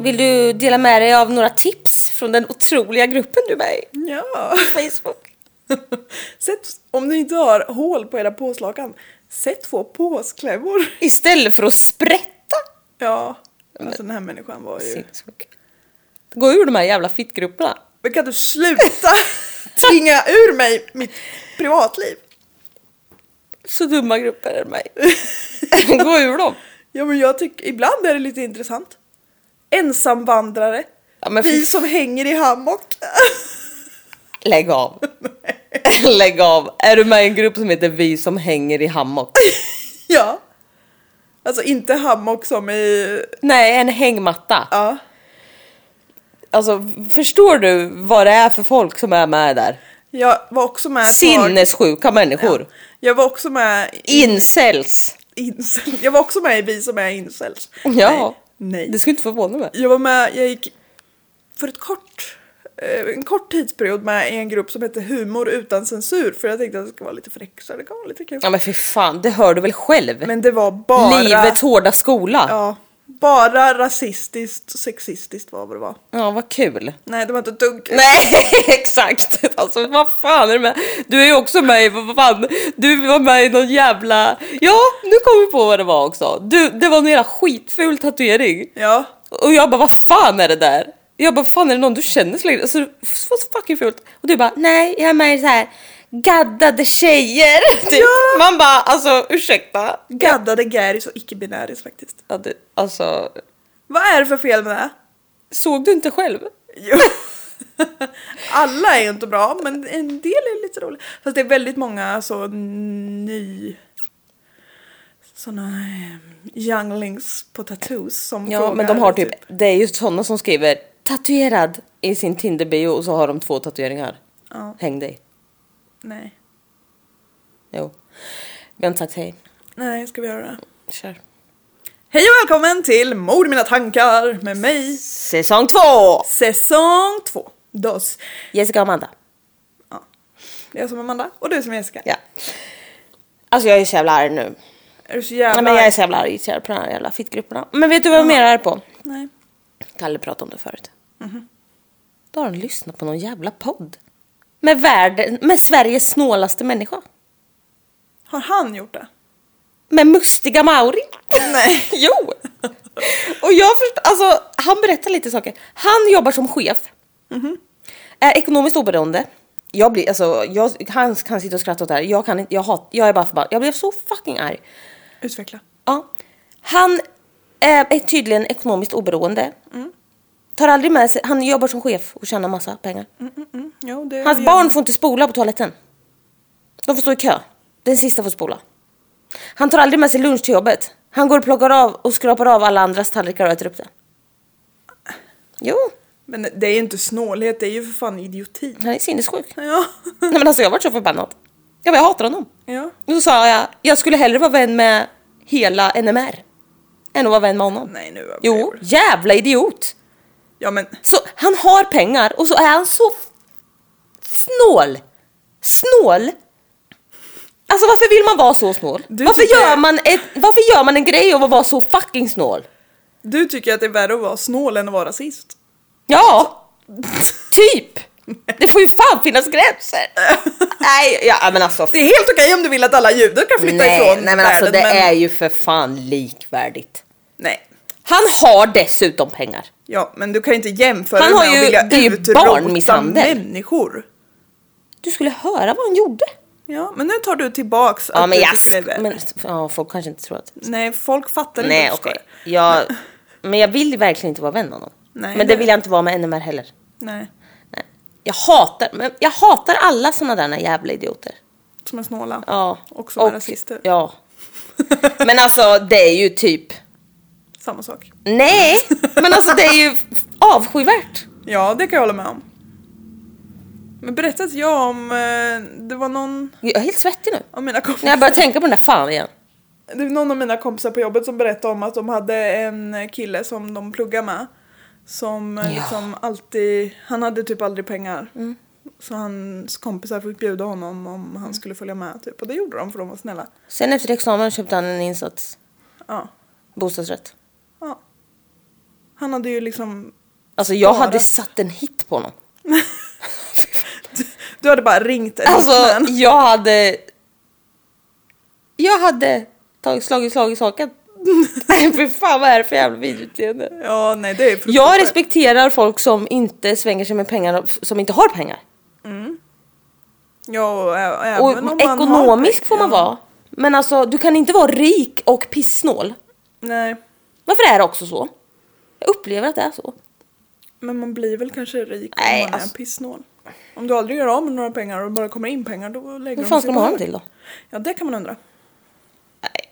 Vill du dela med dig av några tips från den otroliga gruppen du är med i Ja. på Facebook? Sätt, om ni inte har hål på era påslakan, sätt två påsklämmor. Istället för att sprätta! Ja, alltså den här människan var ju... Sinnessjuk. Gå ur de här jävla fittgrupperna. Men kan du sluta tvinga ur mig mitt privatliv? Så dumma grupper är mig. Gå ur dem. Ja men jag tycker, ibland är det lite intressant. Ensamvandrare. Ja, men fy- vi som hänger i hammock. Lägg av. Lägg av. Är du med i en grupp som heter Vi som hänger i hammock? ja. Alltså inte hammock som i... Nej, en hängmatta. Ja. Alltså, förstår du vad det är för folk som är med där? Jag var också med... på- Sinnessjuka människor. Jag var också med i... Incels. Incel. Jag var också med i Vi som är incels. Ja. Nej. Det Nej. skulle inte förvåna mig. Jag var med, jag gick för ett kort, eh, en kort tidsperiod med i en grupp som hette Humor utan censur för jag tänkte att det ska vara lite fräck så det kan vara lite kul. Ja men för fan, det hör du väl själv? Men det var bara... Livets hårda skola. Ja. Ja. Bara rasistiskt och sexistiskt var vad det var. vad kul. Nej det var inte ett dugg. Nej, exakt. Alltså vad fan är det med? Du är ju också med i, vad fan, du var med i någon jävla... Ja, nu kom vi på vad det var också. Du, det var en jävla skitful tatuering. Ja. Och jag bara, vad fan är det där? Jag bara, fan är det någon du känner så länge? Alltså, så fucking fult. Och du bara, nej, jag är med i så här gaddade tjejer. Typ. Man bara, alltså ursäkta. Gaddade gäris och icke-binäris faktiskt. Ja, du, alltså, Vad är det för fel med det? såg du inte själv? Jo. Alla är ju inte bra men en del är lite roliga. Fast det är väldigt många så ny... Såna eh, younglings på tattoos som Ja, frågar men de har typ, det är ju sådana som skriver tatuerad i sin Tinder-bio och så har de två tatueringar. Ja. Häng dig. Nej. Jo. Vi har inte sagt hej. Nej, ska vi göra det? Kör. Hej och välkommen till Mord i mina tankar med mig, Säsong två! säsong två. Dos. Jessica och Amanda. Ja. Jag som Amanda och du som Jessica. Ja. Alltså jag är så jävla arg nu. Är du så jävla... Nej, men jag är så jävla arg så jävla på de här jävla fittgrupperna. Men vet du vad jag är mer arg på? Nej. Kalle pratade om det förut. Mhm. Då har han lyssnat på någon jävla podd. Med världen, med Sveriges snålaste människa. Har han gjort det? Med mustiga Mauri. Nej. jo! Och jag förstår, alltså han berättar lite saker. Han jobbar som chef. Är ekonomiskt oberoende. Jag blir, alltså, jag, han kan sitta och skratta åt det här. Jag kan inte, jag hat, jag är bara förbannad. Jag blev så fucking arg. Utveckla. Ja. Han eh, är tydligen ekonomiskt oberoende. Tar aldrig med sig, han jobbar som chef och tjänar massa pengar. Mm, jo, det Hans gör- barn får inte spola på toaletten. De får stå i kö. Den sista får spola. Han tar aldrig med sig lunch till jobbet. Han går och plockar av och skrapar av alla andras tallrikar och äter upp det. Jo, Men det är ju inte snålhet, det är ju för fan idioti. han är sinnessjuk. Ja. Nej men alltså jag har varit så förbannad. Jag, bara, jag hatar honom. ja. Och så sa jag, jag skulle hellre vara vän med hela NMR. Än att vara vän med honom. Nej, nu överdriver Jo, du. jävla idiot. Ja men Så han har pengar och så är han så f- snål. Snål. Alltså varför vill man vara så snål? Du Varför tycker- gör, man ett, varför gör man en grej av att vara så fucking snål? du tycker att det är värre att vara snål än att vara rasist. Ja, typ. Det får ju fan finnas gränser. nej, ja, men alltså. Det är helt okej om du vill att alla judar kan flytta Nej, ifrån nej men alltså det världen, men- är ju för fan likvärdigt. Nej. Han har dessutom pengar. Ja, men du kan ju inte jämföra Han det har med ju- att det är ju vilja utrota barnmisshandel. människor. Du skulle höra vad han gjorde. Ja, men nu tar du tillbaks Ja, men du jag... beskriver. Men, ja, folk kanske inte tror att... Nej, folk fattar inte Nej att du okej. skojar. Jag, men jag vill verkligen inte vara vän med honom. Nej, men det det- vill jag inte vara med NMR heller. Nej, Nej. Jag hatar, men jag hatar alla såna där jävla idioter. som är snåla. Ja. Och som är rasister. Ja. Men alltså det är ju typ, Samma sak. nej! Men alltså det är ju avskyvärt. Ja, det kan jag hålla med om. Men berättade jag om, eh, det var någon Jag är helt svettig nu. av mina kompisar. När jag börjar tänka på den där fan igen. Det var någon av mina kompisar på jobbet som berättade om att de hade en kille som de pluggade med. Som eh, Ja. Mm. liksom alltid, han hade typ aldrig pengar. Så hans kompisar fick bjuda honom om han skulle följa med typ. Och det gjorde de för de var snälla. Sen efter examen köpte han en insats Ja. bostadsrätt. ja. Han hade ju liksom... Alltså jag Bara. hade satt en hit på honom. Du hade bara ringt en Alltså hitman. jag hade... Jag hade tagit slagit slag i saken. Nej för fan vad är det för jävla videoutseende? Ja, nej det är fruktansvärt. Jag respekterar folk som inte svänger sig med pengar, som inte har pengar. Ja, och, ä- även och om man har ekonomisk får man pengar. vara. Men alltså du kan inte vara rik och pissnål. Nej, Varför är det också så? Jag upplever att det är så. men man blir väl kanske rik Nej, om man är alltså- pissnål. Om du aldrig gör av med några pengar och bara kommer in pengar då lägger Hur fan de ska sig de ha på dem hög. till då? Ja, det kan man undra. Nej.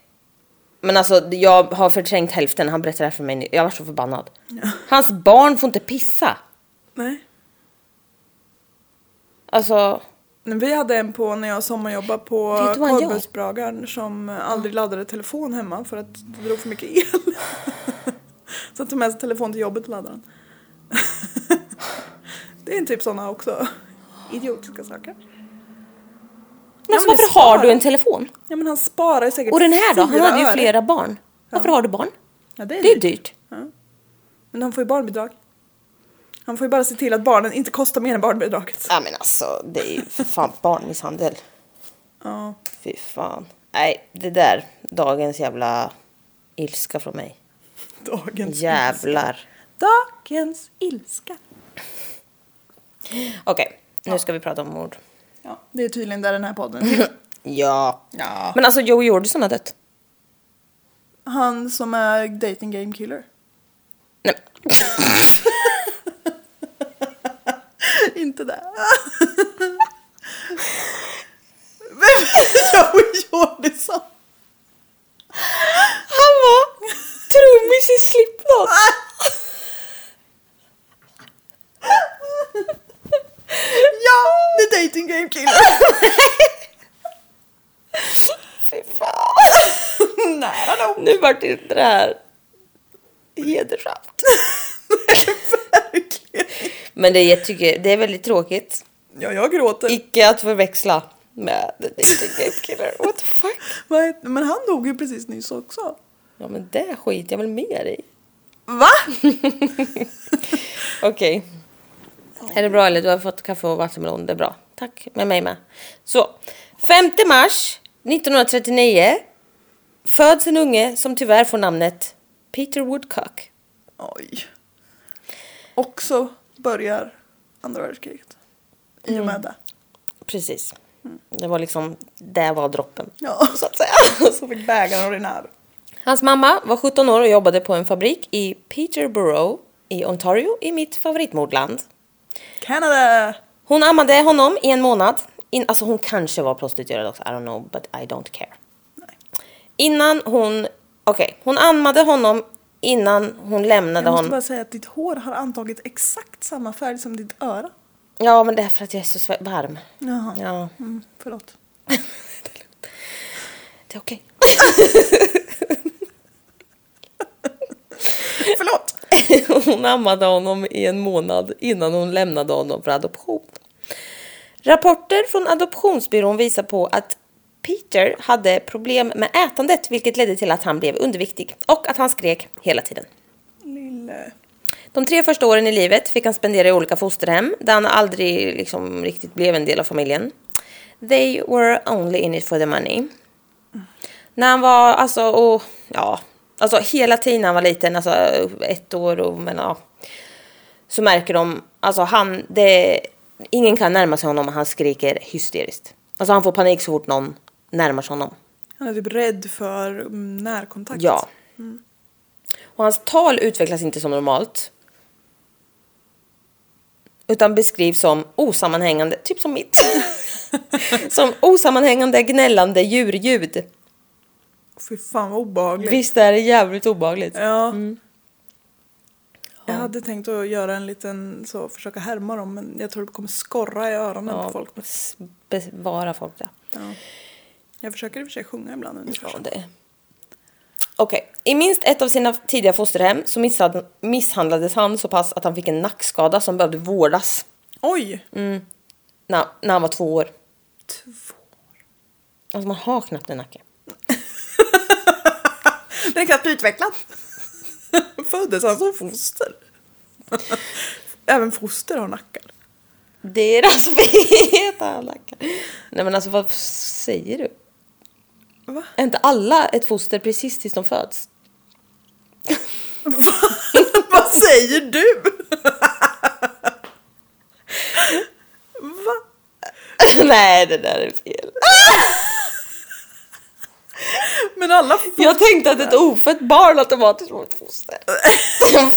Men alltså jag har förträngt hälften, han berättade det här för mig nu. Jag var så förbannad. Hans barn får inte pissa. Nej. Alltså, Men Vi hade en på när jag sommarjobbade på Vet du vad han gör? korvbussbragaren som aldrig laddade telefon hemma för att det drog för mycket el. Så han tog med sig telefon till jobbet och laddade den. Det är en typ sådana också idiotiska saker. men alltså men det varför har sparar. du en telefon? Ja men han sparar ju säkert Och den här då? Han fyra hade ju öre. flera barn. Varför har du barn? Ja, det är Det är dyrt. dyrt. Ja. Men han får ju barnbidrag. Han får ju bara se till att barnen inte kostar mer än barnbidraget. Ja men alltså det är ju för fan barnmisshandel. Ja. Fy fan. Nej, det där. Dagens jävla ilska från mig. Dagens ilska. Jävlar. Dagens ilska. Okej, nu ska vi prata om mord. Ja, det är tydligen där den här podden Ja. Ja. Men alltså Joey Jordison har dött. Han som är dating game killer. Nej. Inte det. Vem är Joey Jordison? Han var trummis i Slipknot. Ja, the dating game killer. Ah, Fy fan. Nära nog. Nu vart det inte det här hedersamt. Verkligen. Men det är, jag tycker, det är väldigt tråkigt. Ja, jag gråter. Icke att förväxla med The Dating Game Killer. What the fuck? Vad heter- Men han dog ju precis nyss också. Ja men det skiter jag väl mer i. Va? Okej. Är det bra eller? Du har fått kaffe och vattenmelon. Det är bra. Tack. Med mig med. Så. 5 mars 1939 föds en unge som tyvärr får namnet Peter Woodcock. Oj. Också börjar andra världskriget. I och Mm. med det. Precis. Det var liksom, det var droppen. Ja. Så att säga. Så fick bägaren ordinär. Hans mamma var 17 år och jobbade på en fabrik i Peterborough i Ontario i mitt favoritmordland. Canada! Hon ammade honom i en månad. In, alltså hon kanske var prostituerad också, I don't know but I don't care. Nej. Innan hon, okej, hon ammade honom innan hon lämnade Jag måste honom. bara säga att ditt hår har antagit exakt samma färg som ditt öra. Ja men det är för att jag är så sve- varm. Jaha. Ja. Mm, förlåt. Det är okej. Förlåt! Hon ammade honom i en månad innan hon lämnade honom för adoption. Rapporter från adoptionsbyrån visar på att Peter hade problem med ätandet vilket ledde till att han blev underviktig och att han skrek hela tiden. Lille... De tre första åren i livet fick han spendera i olika fosterhem där han aldrig liksom riktigt blev en del av familjen. They were only in it for the money. När han var, alltså, och, ja, alltså hela tiden när han var liten, alltså ett år och men ja. Så märker de, alltså han, det, ingen kan närma sig honom och han skriker hysteriskt. Alltså han får panik så fort någon närmar sig honom. Han är typ rädd för mm, närkontakt. Ja. Mm. Och hans tal utvecklas inte som normalt. Utan beskrivs som osammanhängande, typ som mitt. som osammanhängande gnällande djurljud. Fy fan vad obehagligt. Visst är det jävligt obehagligt? Ja. Mm. Jag hade tänkt att göra en liten så, försöka härma dem men jag tror det kommer skorra i öronen på folk. s- Bevara folk det. Ja. Jag försöker i och för sig sjunga ibland under Ja, försök. det är. Okej, i minst ett av sina tidiga fosterhem så missad- misshandlades han så pass att han fick en nackskada som behövde vårdas Oj! Mm. när, när han var två år. Två. Alltså man har knappt en nacke. Den är knappt utvecklad. föddes han som foster? Även foster har nackar. Deras feta lackar. Nej men alltså vad säger du? Va? Är inte alla ett foster precis tills de föds? Vad säger du? Va? Nej det där är fel. Men alla... Jag tänkte att ett ofött barn automatiskt var ett foster.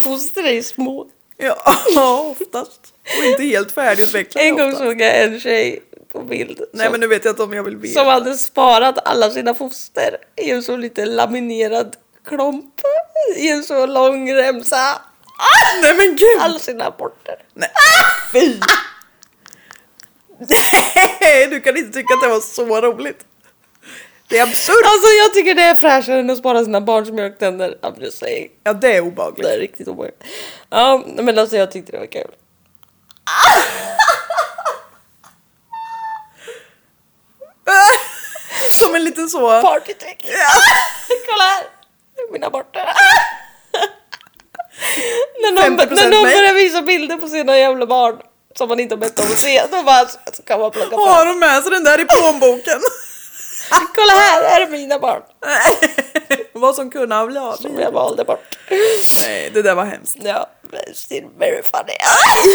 Foster är ju små. Ja, oftast. Och inte helt färdigutvecklade En gång oftast. såg jag en tjej på bild Nej som, men nu vet jag inte om jag vill veta. som hade sparat alla sina foster i en så liten laminerad klump i en så lång remsa. Ah! Nej men gud! Alla sina aborter. Nej. Fy! Nej, du kan inte tycka att det var så roligt. Det är absurt. Alltså jag tycker det är fräschare än att spara sina barns mjölktänder. I'm just saying. Ja, det är Det obehagligt. är riktigt obehagligt. Ja men alltså jag tyckte det var kul. Som en liten så... Partytrick! Kolla här! Mina aborter. när någon, 50% när någon mig. börjar visa bilder på sina jävla barn som man inte har bett om att se, då bara så kan man plocka fram. Har de med sig den där i plånboken? Kolla här, här är mina barn Vad som kunde ha blivit. som jag valde bort. Nej, det där var hemskt. Ja, men still very funny. Ah!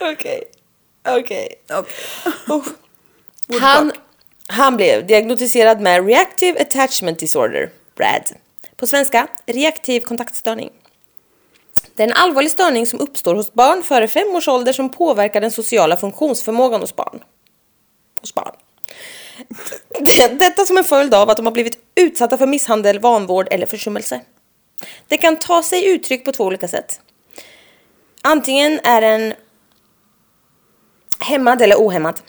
Okej, okej. Okej. Usch. Woodcock. Han, han blev diagnostiserad med Reactive Attachment Disorder, RAD. På svenska, reaktiv kontaktstörning. Det är en allvarlig störning som uppstår hos barn före fem års ålder som påverkar den sociala funktionsförmågan hos barn. Hos barn. Det- Detta som en följd av att de har blivit utsatta för misshandel, vanvård eller försummelse. Det kan ta sig uttryck på två olika sätt. Antingen är den hämmad eller ohämmad.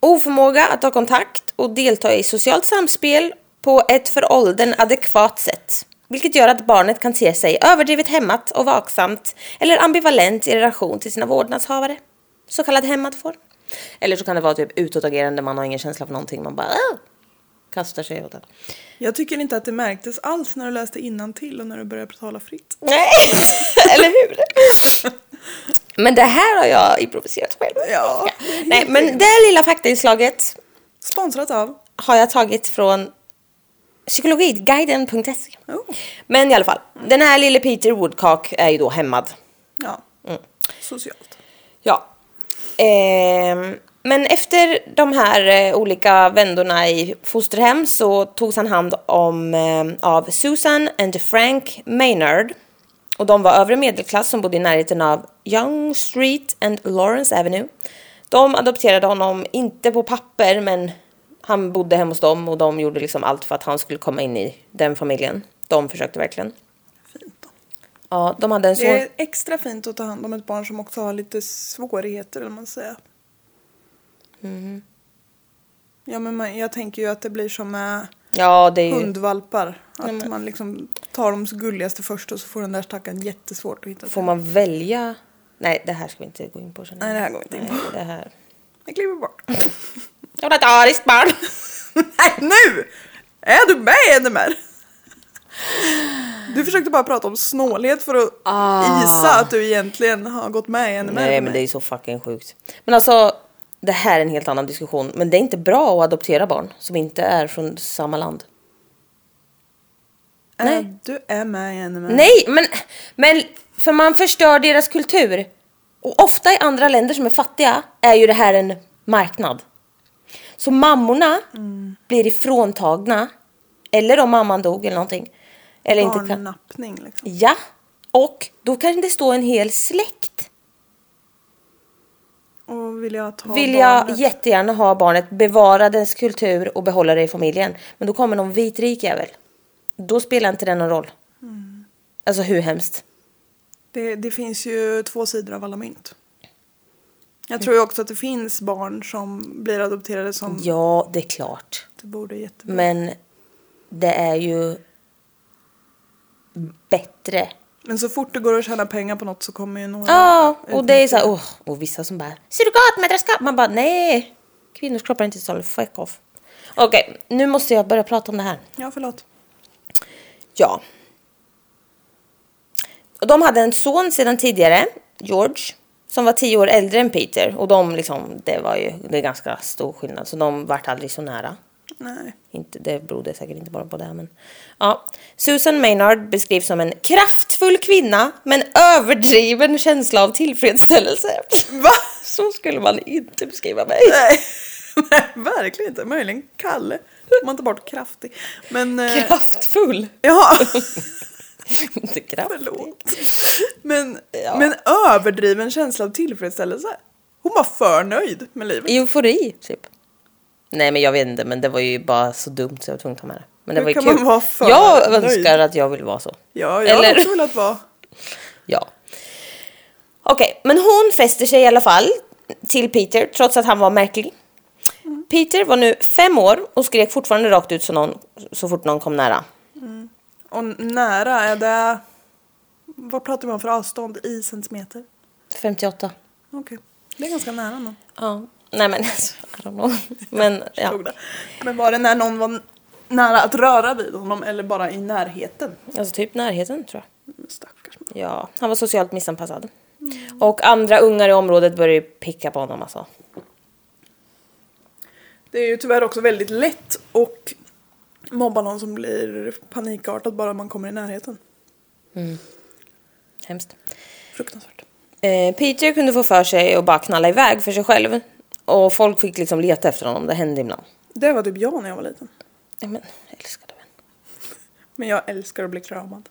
Oförmåga att ta kontakt och delta i socialt samspel på ett för åldern adekvat sätt. Vilket gör att barnet kan te sig överdrivet hämmat och vaksamt eller ambivalent i relation till sina vårdnadshavare. Så kallad hämmad form. Eller så kan det vara typ utåtagerande, man har ingen känsla för någonting, man bara "Åh!" kastar sig åt det. Jag tycker inte att det märktes alls när du läste innantill och när du började tala fritt. Nej, eller hur? Men det här har jag improviserat själv. Ja. Nej, men det lilla faktainslaget Sponsrat av... har jag tagit från psykologiguiden.se. Oh. Men i alla fall, den här lille Peter Woodcock är ju då hämmad. Ja. Socialt. Ja. Ehm, men efter de här eh, olika vändorna i fosterhem så togs han hand om ehm, av Susan and Frank Maynard. Och de var övre medelklass som bodde i närheten av Young Street and Lawrence Avenue. De adopterade honom, inte på papper, men han bodde hemma hos dem och de gjorde liksom allt för att han skulle komma in i den familjen. De försökte verkligen. Fint. då. Ja, de hade en son. Det är extra fint att ta hand om ett barn som också har lite svårigheter eller vad man säger. Mhm. Ja men man, jag tänker ju att det blir som med Ja, det är ju... hundvalpar. Att man liksom tar de gulligaste först och så får den där stackaren jättesvårt att hitta. Får till. man välja? Nej, det här ska vi inte gå in på. känner jag. Nej, det här går vi inte in på. Nej, Det här. Jag kliver bort. Jag vill ha ett ariskt barn! Nej nu! Är du med NMR? Du försökte bara prata om snålhet för att Ah. isa att du egentligen har gått med i NMR. Nej, men det är så fucking sjukt. Men alltså, det här är en helt annan diskussion. Men det är inte bra att adoptera barn som inte är från samma land. Är nej. Du är med i NMR. Nej, men, men för man förstör deras kultur. Och ofta i andra länder som är fattiga är ju det här en marknad. Så mammorna Mm. blir ifråntagna. Eller om mamman dog eller någonting. Eller inte kan... Barnnappning liksom. Ja, och då kan det stå en hel släkt. Och vill jag ta Vill jag barnet? jättegärna ha barnet, bevara dess kultur och behålla det i familjen. Men då kommer någon vitrik jävel. Då spelar inte det någon roll. Alltså hur hemskt? Det, det finns ju två sidor av alla mynt. Mm. Jag tror ju också att det finns barn som blir adopterade som Ja, det är klart. inte borde jättebra. Men det är ju bättre. Men så fort det går att tjäna pengar på något så kommer ju några... Ja, och det är så här, åh, och vissa som bara surrogatmödraskap. Man bara nej, kvinnors kroppar är inte så fuck off. Okej, nu måste jag börja prata om det här. Ja, förlåt. Ja. Och de hade en son sedan tidigare, George, som var tio år äldre än Peter. Och de liksom, det var ju det är ganska stor skillnad. Så de vart aldrig så nära. Nej. Inte, det berodde säkert inte bara på det. Men, ja. Susan Maynard beskrivs som en kraftfull kvinna med en överdriven känsla av tillfredsställelse. Va? Så skulle man inte beskriva mig. Nej. Nej, verkligen inte. Möjligen Kalle. Om man tar bort kraftig. Men... eh, Kraftfull. Jaha. inte kraftig. Förlåt. Men, Ja. men överdriven känsla av tillfredsställelse. Hon var för nöjd med livet. Eufori, typ. Nej, men jag vet inte, men det var ju bara så dumt så jag var tvungen att ta med det. Men det Hur var ju kan kul. man vara för jag nöjd? önskar att jag ville vara så. Ja, jag hade Eller- också velat vara... Ja. Okej, men hon fäster sig i alla fall till Peter trots att han var märklig. Mm. Peter var nu fem år och skrek fortfarande rakt ut så, någon, så fort någon kom nära. Och nära, är det... Vad pratar man för avstånd i centimeter? 58. Okej. Det är ganska nära någon. Ja. Nej men alltså, I don't know. Men ja, Förstod det. Men var det när någon var nära att röra vid honom eller bara i närheten? alltså typ närheten tror jag. Stackars Ja, han var socialt missanpassad. Mm. Och andra ungar i området började ju picka på honom alltså. Det är ju tyvärr också väldigt lätt och mobba någon som blir panikartad bara man kommer i närheten. Hemskt. Fruktansvärt. Eh, Peter kunde få för sig att bara knalla iväg för sig själv. Och folk fick liksom leta efter honom, det hände ibland. Det var typ jag när jag var liten. Ja, men älskade vän. Men jag älskar att bli kramad.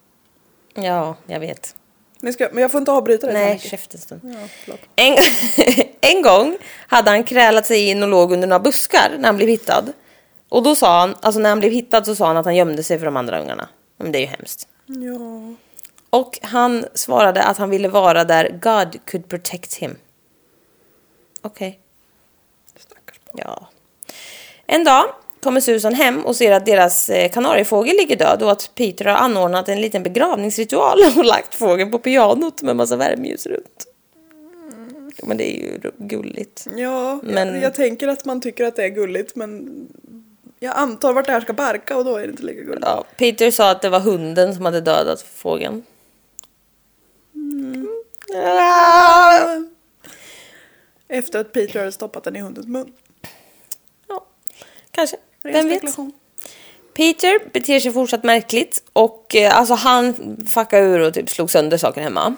Ja, jag vet. Ni ska, men jag får inte avbryta det. Nej, Tack. käften stund. Ja, förlåt. En, en gång hade han krälat sig in och låg under några buskar när han blev hittad. Och då sa han, alltså när han blev hittad så sa han att han gömde sig för de andra ungarna. Men det är ju hemskt. Ja. Och han svarade att han ville vara där God could protect him. Okej. Stackars barn. Ja. En dag kommer Susan hem och ser att deras eh, kanariefågel ligger död och att Peter har anordnat en liten begravningsritual och lagt fågeln på pianot med massa värmeljus runt. Mm. Men det är ju ro- gulligt. Ja, men... Men- jag, jag tänker att man tycker att det är gulligt men jag antar vart det här ska barka och då är det inte lika gulligt. Ja, Peter sa att det var hunden som hade dödat fågeln. Mm. Ah! Efter att Peter hade stoppat den i hundens mun. Ja, kanske. Ren Vem vet? spekulation. Peter beter sig fortsatt märkligt och eh, alltså han fuckade ur och typ slog sönder saker hemma.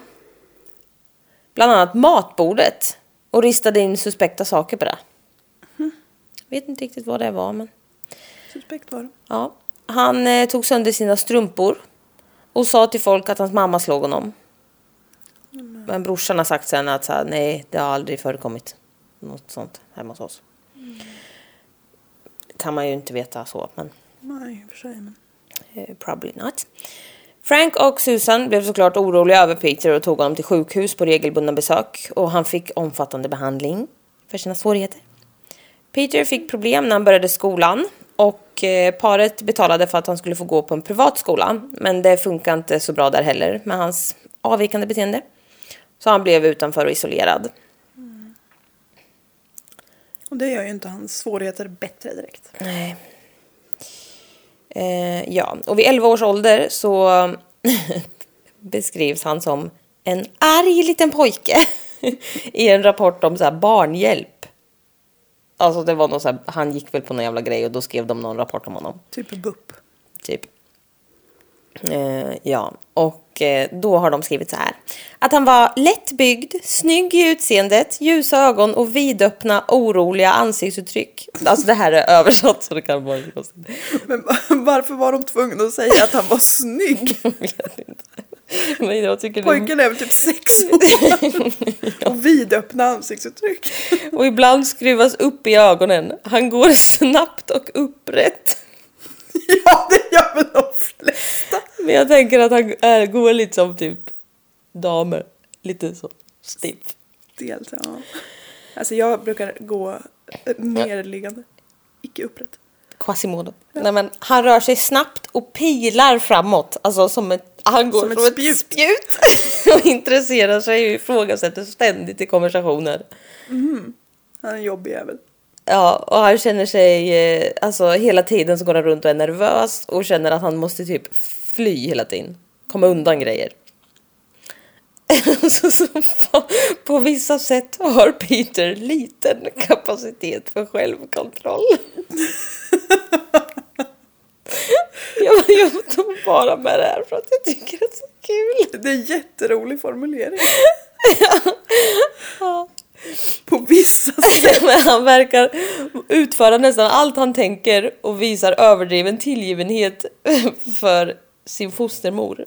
Bland annat matbordet och ristade in suspekta saker på det. Vet inte riktigt vad det var men Suspekt var det. ja. Han eh, tog sönder sina strumpor och sa till folk att hans mamma slog honom. Men brorsan har sagt sen att så här, nej det har aldrig förekommit något sånt hemma hos oss. Kan man ju inte veta så men. Nej, i och för sig. Men... Eh, Probably not. Frank och Susan blev såklart oroliga över Peter och tog honom till sjukhus på regelbundna besök och han fick omfattande behandling för sina svårigheter. Peter fick problem när han började skolan och eh, paret betalade för att han skulle få gå på en privat skola men det funkar inte så bra där heller med hans avvikande beteende. Så han blev utanför och isolerad. Och det gör ju inte hans svårigheter bättre direkt. Nej. Eh, ja, och vid 11 års ålder så beskrivs han som en arg liten pojke i en rapport om så här barnhjälp. Alltså det var någon så här, han gick väl på någon jävla grej och då skrev de någon rapport om honom. Typ BUP. Typ. Eh, ja, och eh, då har de skrivit så här. Att han var lättbyggd, snygg i utseendet, ljusa ögon och vidöppna, oroliga ansiktsuttryck. Alltså det här är översatt så det kan vara lite konstigt. Men varför var de tvungna att säga att han var snygg? Jag vet inte. Men jag tycker det... Pojken är väl typ sex år. Och vidöppna ansiktsuttryck. Och ibland skruvas upp i ögonen. Han går snabbt och upprätt. Ja, det gör väl de flesta. Men jag tänker att han är, går lite som typ damer. Lite så stiff. Dels, ja. Alltså jag brukar gå eh, nerliggande. Icke upprätt. Quasimodo. Nej, men han rör sig snabbt och pilar framåt. Alltså som ett, han går Som som, ett ett spjut. och intresserar sig och ifrågasätter ständigt i konversationer. Han är en jobbig jävel. Ja, och han känner sig, eh, alltså hela tiden så går han runt och är nervös och känner att han måste typ fly hela tiden. Komma undan grejer. så, så, fan, på vissa sätt har Peter liten kapacitet för självkontroll. jag, jag tog bara med det här för att jag tycker det är så kul. Det är en jätterolig formulering. På vissa sätt. Men han verkar utföra nästan allt han tänker och visar överdriven tillgivenhet för sin fostermor.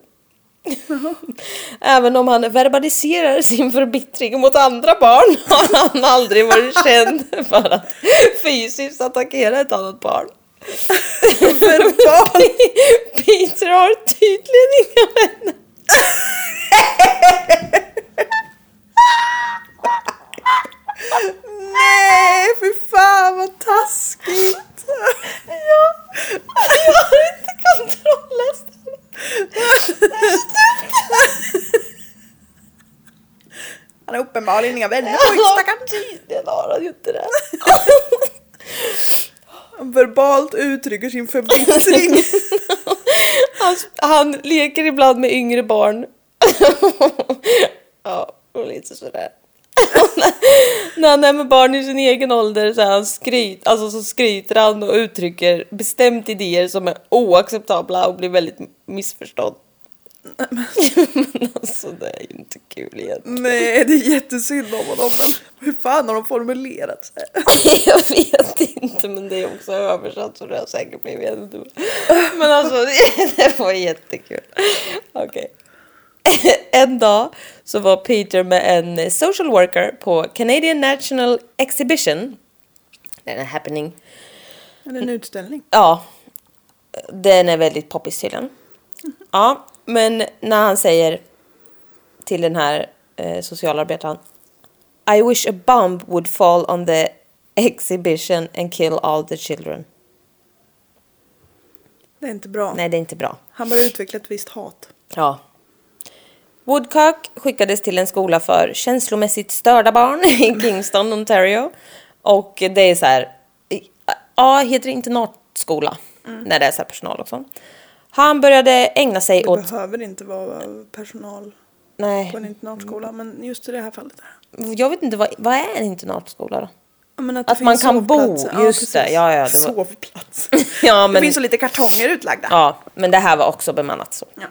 Även om han verbaliserar sin förbittring mot andra barn har han aldrig varit känd för att fysiskt attackera ett annat barn. Peter har tydligen inga vänner. Nej, fy fan vad taskigt! ja. Jag har inte kontroll nästan. Han har uppenbarligen inga vänner Ja, Tydligen har han ju inte det. Han verbalt uttrycker sin förbittring. Han, han leker ibland med yngre barn. ja, och lite sådär. När han är med barn i sin egen ålder så, är han skryt, alltså så skryter han och uttrycker bestämt idéer som är oacceptabla och blir väldigt missförstådd. Men alltså det är ju inte kul egentligen. Nej, det är jättesynd om honom. Men hur fan har de formulerat sig? Jag vet inte men det är också översatt så det har säkert blivit ännu dummare. Men alltså det- det var jättekul. Okej. En dag så var Peter med en social worker på Canadian National Exhibition. Det är en happening. Är det en utställning? Ja. Den är väldigt poppis tydligen. Ja, men när han säger till den här eh, socialarbetaren I wish a bomb would fall on the exhibition and kill all the children. Det är inte bra. Nej, det är inte bra. Han börjar utveckla ett visst hat. Ja. Woodcock skickades till en skola för känslomässigt störda barn i Kingston, Ontario. Och det är så här, i- ja, heter det internatskola när det är så här personal och sånt. Han började ägna sig Det åt, behöver inte vara personal nej, på en internatskola, men just i det här fallet. Där. jag vet inte, vad, vad är en internatskola då? Ja, Men Att det man finns kan bo, sovplatser. just precis. det. Ja, ja, det var- Sovplats. Ja, Det men- finns så lite kartonger utlagda. Ja, men det här var också bemannat så. Ja.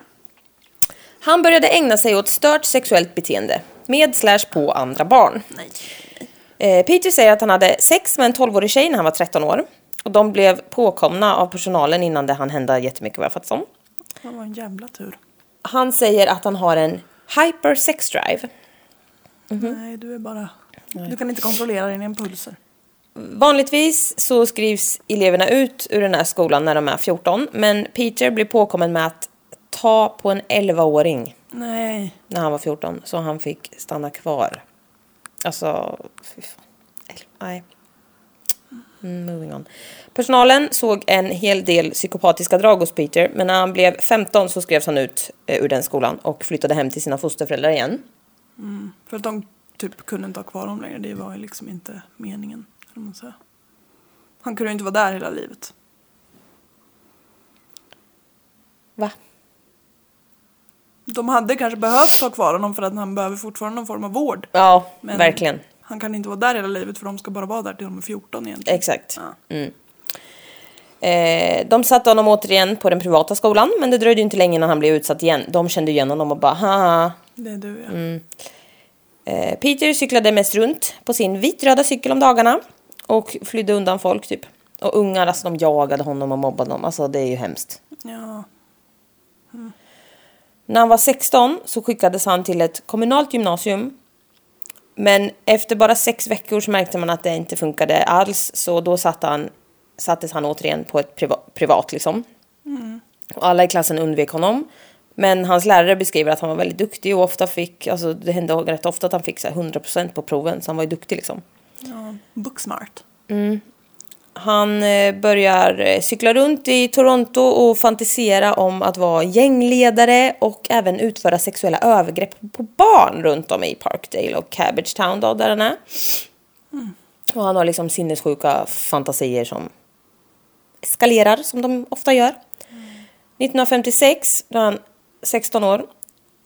Han började ägna sig åt stört sexuellt beteende med slash på andra barn. Nej. Eh, Peter säger att han hade sex med en 12-årig tjej när han var 13 år. Och de blev påkomna av personalen innan det han hända jättemycket vad jag fattat som. Det var en jävla tur. Han säger att han har en hyper sex drive. Mhm. Nej, du är bara... Du kan inte kontrollera dina impulser. Vanligtvis så skrivs eleverna ut ur den här skolan när de är 14. Men Peter blir påkommen med att ta på en 11-åring Nej. när han var 14. Så han fick stanna kvar. Alltså, fy fan. Eller, Nej. Mm, Moving on. Personalen såg en hel del psykopatiska drag hos Peter men när han blev 15 så skrevs han ut eh, ur den skolan och flyttade hem till sina fosterföräldrar igen. För att de typ kunde inte ha kvar dem längre. Det var ju liksom inte meningen. eller vad man säger. Han kunde ju inte vara där hela livet. Va? De hade kanske behövt ha kvar honom för att han behöver fortfarande någon form av vård. Ja, Men- verkligen. Han kan inte vara där hela livet för de ska bara vara där till de är 14 egentligen. Exakt. Ja. Mm. Eh, de satte honom återigen på den privata skolan men det dröjde ju inte länge innan han blev utsatt igen. De kände igen honom och bara haha. Det är du ja. Mm. Eh, Peter cyklade mest runt på sin vitröda cykel om dagarna och flydde undan folk typ. Och ungar, alltså de jagade honom och mobbade honom. Alltså det är ju hemskt. ja. När han var 16 så skickades han till ett kommunalt gymnasium. Men efter bara sex veckor så märkte man att det inte funkade alls. Så då satt han, sattes han återigen på ett priva, privat liksom. Och alla i klassen undvek honom. Men hans lärare beskriver att han var väldigt duktig och ofta fick, alltså det hände rätt ofta att han fick så här 100% på proven. Så han var ju duktig liksom. ja. Booksmart. Han eh, börjar eh, cykla runt i Toronto och fantisera om att vara gängledare och även utföra sexuella övergrepp på barn runt om i Parkdale och Cabbage Town då, där han är. Och han har liksom sinnessjuka fantasier som eskalerar som de ofta gör. 1956, då är han 16 år.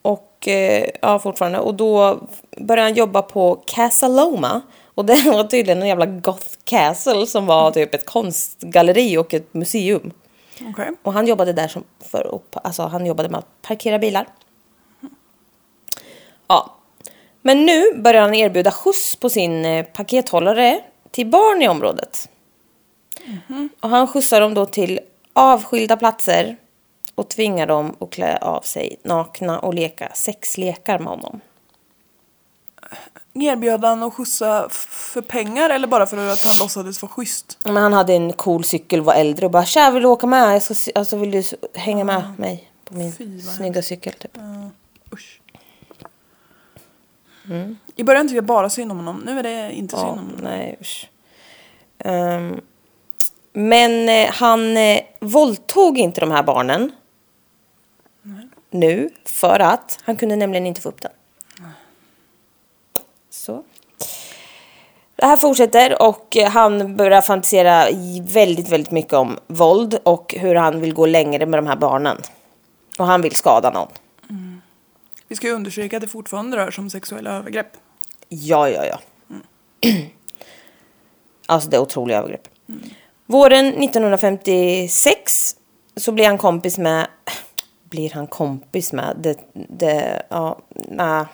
Och eh, ja, fortfarande. Och då började han jobba på Casaloma. Och det var tydligen en jävla goth castle som var typ ett konstgalleri och ett museum. Okej. Och han jobbade där som för att- alltså han jobbade med att parkera bilar. Ja. Men nu börjar han erbjuda skjuts på sin eh, pakethållare till barn i området. Mm-hmm. Och han skjutsar dem då till avskilda platser och tvingar dem att klä av sig nakna och leka sexlekar med honom. Erbjöd han att skjutsa f- för pengar eller bara för att han låtsades vara schysst? Men han hade en cool cykel, var äldre och bara “tja, vill du åka med? Jag ska, sy- alltså, vill du s- hänga med mig på min Fy, vad hemskt. snygga cykel?” typ. Usch. I början tyckte jag bara synd om honom, nu är det inte synd om Ja, honom. nej usch. Ehm, Men eh, han eh, våldtog inte de här barnen. Nu, för att han kunde nämligen inte få upp den. Så. Det här fortsätter och eh, han börjar fantisera i- väldigt, väldigt mycket om våld och hur han vill gå längre med de här barnen. Och han vill skada någon. Vi ska ju undersöka att det fortfarande rör sig om sexuella övergrepp. Ja, ja, ja. Alltså det är otroliga övergrepp. Våren 1956 så blir han kompis med... Blir han kompis med? Det, det, ja, nej.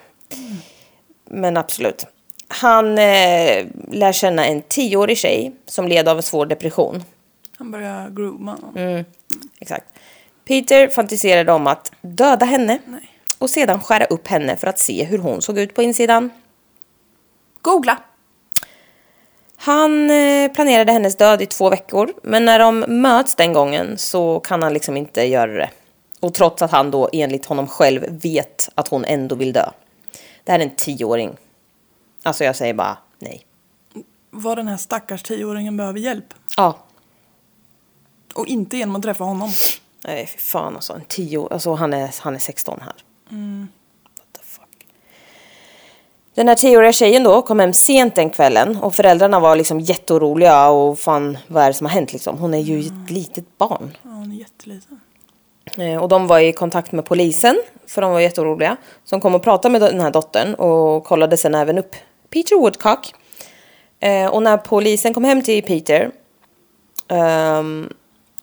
Men absolut. Han eh, lär känna en tioårig tjej som led av en svår depression. Han börjar grooma. honom. Mm. Exakt. Peter fantiserade om att döda henne Nej. och sedan skära upp henne för att se hur hon såg ut på insidan. Googla! Han eh, planerade hennes död i två veckor, men när de möts den gången så kan han liksom inte göra det. Och trots att han då enligt honom själv vet att hon ändå vill dö. Det här är en tioåring. Alltså jag säger bara nej. Vad den här stackars tioåringen behöver hjälp. Ja. Och inte genom att träffa honom. Nej fy fan alltså, en tio, alltså han är, han är 16 här. What the fuck. Den här tioåriga tjejen då kom hem sent den kvällen och föräldrarna var liksom jätteoroliga och fan vad är det som har hänt liksom. Hon är ju ett litet barn. Ja, hon är jätteliten. Eh, Och de var i kontakt med polisen, för de var jätteoroliga. Som kom och pratade med den här dottern och kollade sen även upp Peter Woodcock. Eh, Och när polisen kom hem till Peter ehm,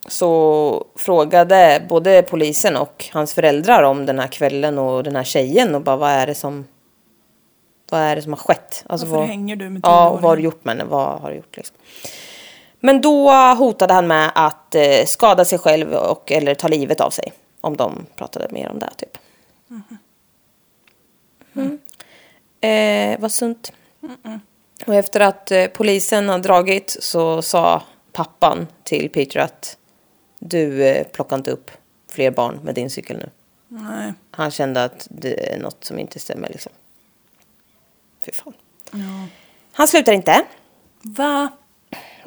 så frågade både polisen och hans föräldrar om den här kvällen och den här tjejen och bara vad är det som, vad är det som har skett? Alltså, Varför hänger du med Ja, tioåringen? vad har du gjort med henne? Vad har du gjort liksom? Men då hotade han med att eh, skada sig själv och eller ta livet av sig. Om de pratade mer om det typ. Mm. Eh, vad sunt. Och efter att eh, polisen har dragit så sa pappan till Peter att du eh, plockar inte upp fler barn med din cykel nu. Nej. Han kände att det är något som inte stämmer liksom. Fy fan. Ja. Han slutar inte. Va?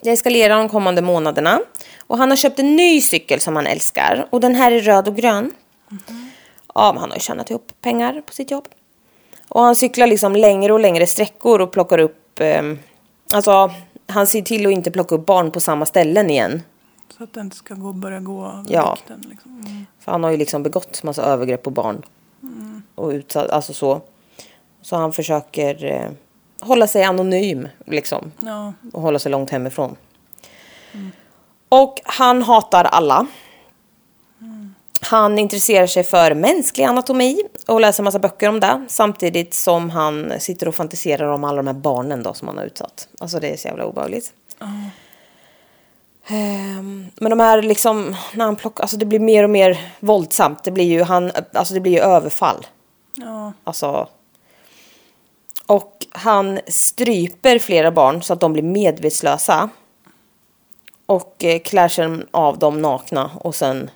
Det eskalerar de kommande månaderna. Och han har köpt en ny cykel som han älskar. Och den här är röd och grön. Ja, men han har ju tjänat ihop pengar på sitt jobb. Och han cyklar liksom längre och längre sträckor och plockar upp... ehm, alltså, han ser till att inte plocka upp barn på samma ställen igen. Så att det inte ska gå, börja gå över Ja. vikten, liksom. Mm. För han har ju liksom begått massa övergrepp på barn. Och utsatt, alltså så. Så han försöker eh, hålla sig anonym liksom. Ja. och hålla sig långt hemifrån. Och han hatar alla. Han intresserar sig för mänsklig anatomi och läser massa böcker om det. Samtidigt som han sitter och fantiserar om alla de här barnen då som han har utsatt. Alltså det är så jävla obehagligt. Ehm, Men de här liksom, när han plockar, alltså det blir mer och mer våldsamt. Det blir ju, han, alltså det blir ju överfall. Ja. Alltså. Och han stryper flera barn så att de blir medvetslösa. Och eh, klär sig av dem nakna och sen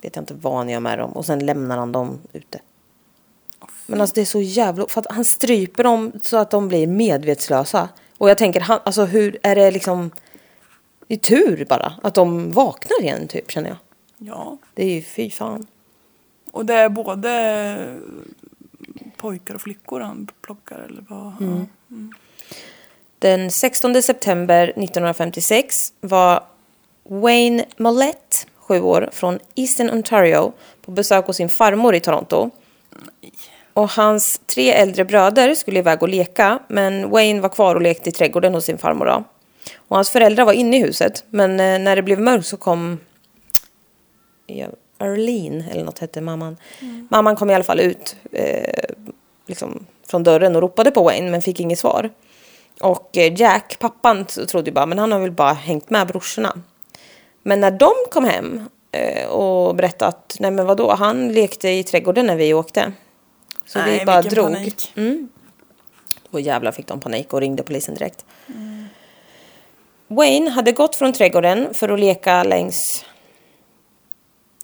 vet jag inte vad han gör med dem och sen lämnar han dem ute. Men alltså det är så jävla... För att han stryper dem så att de blir medvetslösa. Och jag tänker, han, alltså hur är det liksom... Det är tur bara att de vaknar igen typ känner jag. Ja. Det är ju fy fan. Och det är både pojkar och flickor han plockar eller vad? Mm. Den 16 september 1956 var Wayne Mollett sju år, från Eastern Ontario på besök hos sin farmor i Toronto. Och hans tre äldre bröder skulle iväg och leka, men Wayne var kvar och lekte i trädgården hos sin farmor. Då. Och hans föräldrar var inne i huset, men eh, när det blev mörkt så kom ja, Arlene, eller något hette mamman. Mm. Mamman kom i alla fall ut eh, liksom, från dörren och ropade på Wayne, men fick inget svar. Och eh, Jack, pappan, t- trodde ju bara, men han har väl bara hängt med brorsorna. Men när de kom hem eh, och berättade att, nej men vadå, han lekte i trädgården när vi åkte. Så Nej, vi bara vilken drog. panik. Mm. Och jävlar fick de panik och ringde polisen direkt. Wayne hade gått från trädgården för att leka längs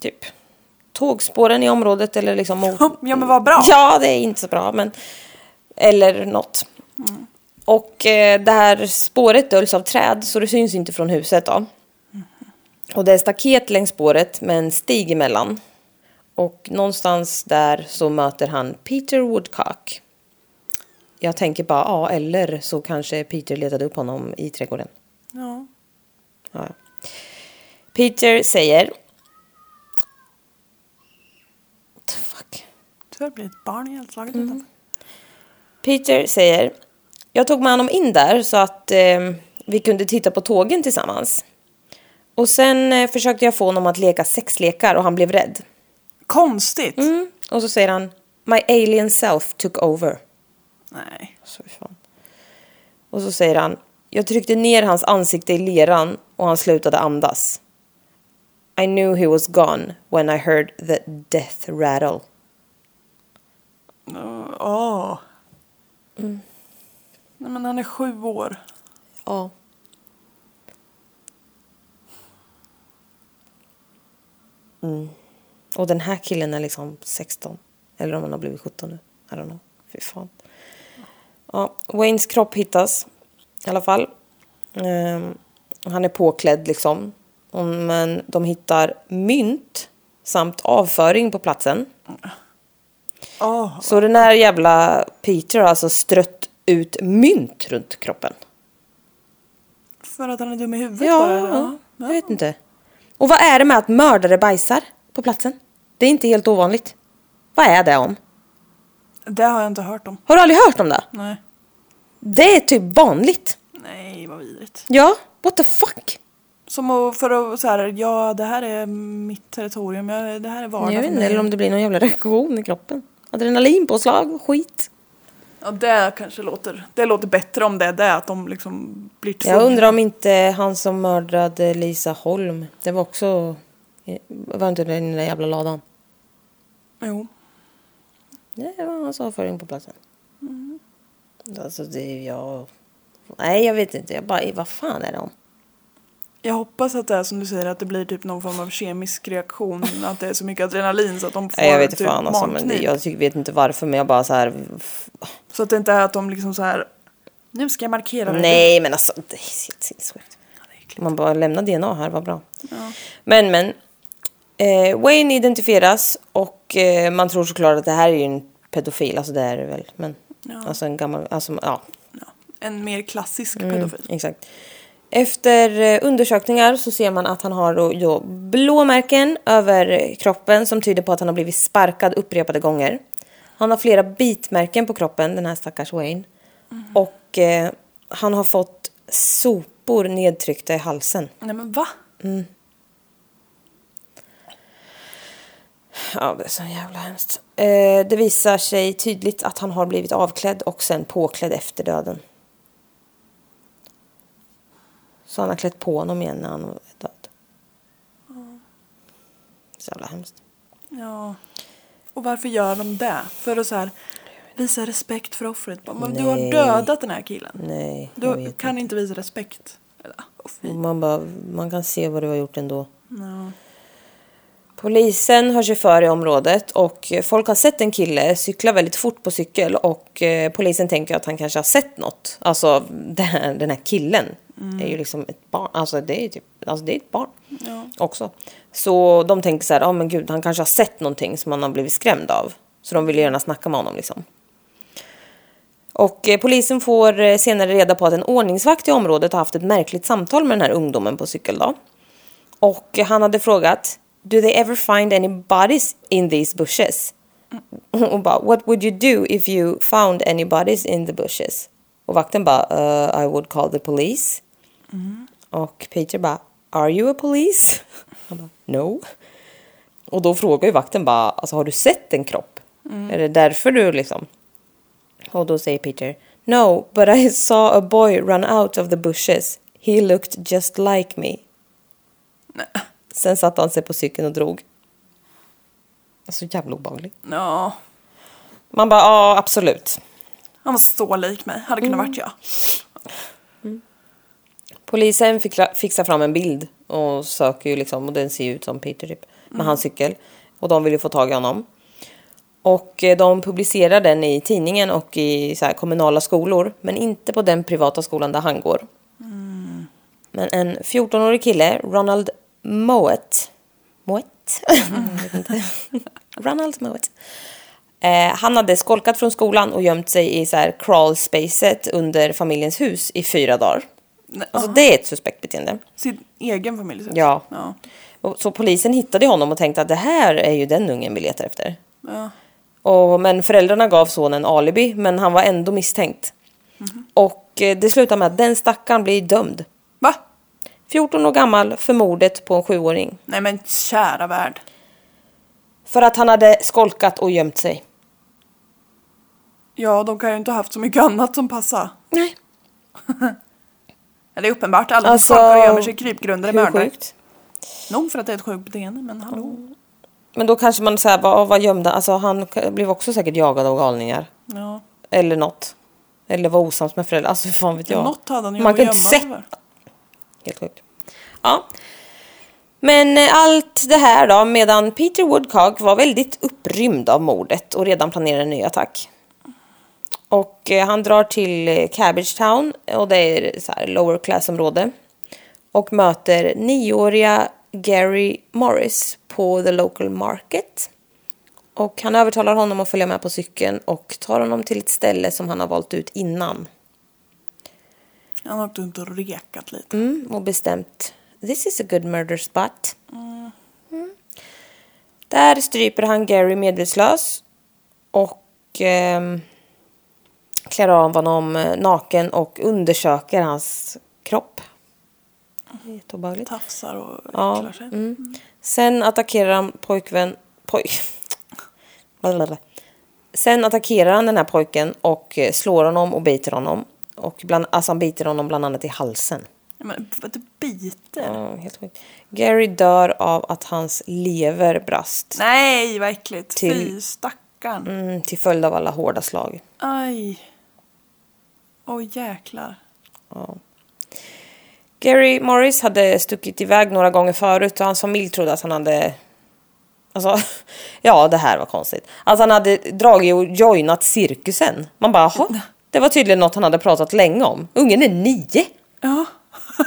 typ tågspåren i området eller liksom mot... Ja, men vad bra. Ja, det är inte så bra men... Eller något. Mm. Och eh, det här spåret döljs av träd så det syns inte från huset Mm. då. Och det är staket längs spåret med en stig emellan. Och någonstans där så möter han Peter Woodcock. Jag tänker bara, ja, eller så kanske Peter letade upp honom i trädgården. Ja. Ja. Peter säger... What the fuck? Tyvärr blir ett barn ihjälslaget Mm. utanför. Peter säger... Jag tog med honom in där så att eh, vi kunde titta på tågen tillsammans. Och sen eh, försökte jag få honom att leka sexlekar och han blev rädd. Konstigt. Mm. Och så säger han... My alien self took over. Nej. Så fy fan. Och så säger han, jag tryckte ner hans ansikte i leran och han slutade andas. I knew he was gone when I heard the death rattle. Åh. Mm. Nej men han är sju år. Ja. Mm. Och den här killen är liksom 16. Eller om han har blivit 17 nu. I don't know. Fy fan. Ja, Waynes kropp hittas. I alla fall. Ehm, han är påklädd liksom. Mm, Men de hittar mynt samt avföring på platsen. Åh. Så den här jävla Peter har alltså strött ut mynt runt kroppen. För att han är dum i huvudet Ja, bara. ja, jag vet inte. Och vad är det med att mördare bajsar på platsen? Det är inte helt ovanligt. Vad är det om? Det har jag inte hört om. Har du aldrig hört om det? Nej. Det är typ vanligt. Nej, vad vidrigt. Ja, what the fuck? Som att- för att så här, ja det här är mitt territorium, jag, det här är vardag Jag vet för inte, mig. eller om det blir någon jävla reaktion i kroppen. Adrenalinpåslag och skit. Ja det kanske låter, det låter bättre om det är det, att de liksom blir tvungna. Jag undrar om inte han som mördade Lisa Holm, det var också... eh, Var inte det i den där jävla ladan? Jo. Det var hans avföring på platsen. Alltså det är jag... Nej jag vet inte, jag bara, vad fan är det om? Jag hoppas att det är som du säger, att det blir typ någon form av kemisk reaktion, att det är så mycket adrenalin så att de får Nej, jag vet inte typ fan alltså, men det- magknip. jag tycker, vet inte varför men jag bara så här. f- Så att det inte är att de liksom så här, nu ska jag markera. det." Nej men alltså det är helt sinnessjukt. Ja, det är äckligt. Man bara lämna DNA här, vad bra. Ja. Men men. Eh, Wayne identifieras och eh, man tror såklart att det här är ju en pedofil, alltså det är det väl. Men Ja. alltså en gammal, alltså ja. Ja. En mer klassisk Mm, pedofil. exakt. Efter eh, undersökningar så ser man att han har då, då blåmärken över eh, kroppen som tyder på att han har blivit sparkad upprepade gånger. Han har flera bitmärken på kroppen, den här stackars Wayne. Och eh, han har fått sopor nedtryckta i halsen. Nej men va? Ja, det är så jävla hemskt. Eh, det visar sig tydligt att han har blivit avklädd och sen påklädd efter döden. Så han har klätt på honom igen när han var död. Så jävla hemskt. Ja. Och varför gör de det? För att så här, visa respekt för offret. Bara, Men du har Nej. dödat den här killen. Nej, jag Du vet kan inte visa respekt. Eller, åh, fy. inte. Man, bara, man kan se vad du har gjort ändå. Ja. Polisen hör sig för i området och folk har sett en kille cykla väldigt fort på cykel och eh, polisen tänker att han kanske har sett något. Alltså den här, den här killen är ju liksom ett barn, alltså det är ju typ, alltså det är ett barn Ja. också. Så de tänker så här, ja men gud han kanske har sett någonting som han har blivit skrämd av. Så de vill gärna snacka med honom liksom. Och eh, polisen får eh, senare reda på att en ordningsvakt i området har haft ett märkligt samtal med den här ungdomen på cykel då. Och han hade frågat Do they ever find any bodies in these bushes? Och bara What would you do if you found any bodies in the bushes? Och vakten bara "Uh, I would call the police. Och Peter bara Are you a police? Han bara No. Och då frågar ju vakten bara alltså, Har du sett en kropp? Är det därför du liksom? Och då säger Peter No, but I saw a boy run out of the bushes. He looked just like me. Nej. Sen satte han sig på cykeln och drog. Så jävla obehaglig. Ja. Man bara, ja absolut. Han var så lik mig. Hade kunnat Mm. varit jag. Polisen fick, fixar fram en bild och söker ju liksom och den ser ju ut som Peter typ. Med hans cykel. Och de vill ju få tag i honom. Och eh, de publicerar den i tidningen och i så här, kommunala skolor. Men inte på den privata skolan där han går. Men en 14-årig kille, Ronald Mowat. Mowat? Jag vet inte. Ronald Mowat. Eh, han hade skolkat från skolan och gömt sig i så här crawl spacet under familjens hus i fyra dagar. Nej, Alltså det är ett suspekt beteende. Sin egen familj. typ. Ja. ja. Och, så polisen hittade honom och tänkte att det här är ju den ungen vi letar efter. Ja. Och, men föräldrarna gav sonen alibi, men han var ändå misstänkt. Mhm. Och eh, det slutar med att den stackaren blir dömd. Va? 14 år gammal för mordet på en sjuåring. Nej men kära värld. För att han hade skolkat och gömt sig. Ja, de kan ju inte ha haft så mycket annat som passar. Nej. Ja, Det är uppenbart. Alla Alltså, alltså, skolkare gömmer sig i krypgrunder i Hur mördare. sjukt. Nog för att det är ett sjukt beteende, men hallå. Men då kanske man säger vad, vad gömde Alltså han k- blev också säkert jagad av galningar. Ja. Eller något. Eller var osams med föräldrar. Alltså hur fan vet jag. Något hade han ju Man att kan inte gömma sätta sig för. Helt sjukt. Ja. Men eh, allt det här då, medan Peter Woodcock var väldigt upprymd av mordet och redan planerade en ny attack. Och eh, han drar till eh, Cabbage Town och det är så här lower class område. Och möter nioåriga Gary Morris på the local market. Och han övertalar honom att följa med på cykeln och tar honom till ett ställe som han har valt ut innan. Han har åkt runt och rekat lite. Mm, och bestämt. This is a good murder spot. Mm. Där stryper han Gary medvetslös och ehm, klär av honom eh, naken och undersöker hans kropp. Det är Jätteobehagligt. Tafsar och Ja, äcklar sig. Mm. Sen attackerar han pojkvän... Poj... Blablabla. Sen attackerar han den här pojken och eh, slår honom och biter honom. Och bland, alltså han biter honom bland annat i halsen. Ja, men vad det biter. Ja, helt sjukt. Gary dör av att hans lever brast Nej, vad äckligt. Till- Fy, stackarn. mm, till följd av alla hårda slag. Aj. Åh jäklar. Gary Morris hade stuckit iväg några gånger förut och hans familj trodde att han hade... Alltså, ja det här var konstigt. Att han hade dragit och joinat cirkusen. Man bara, jaha. Det var tydligen något han hade pratat länge om. Ungen är nio! Ja.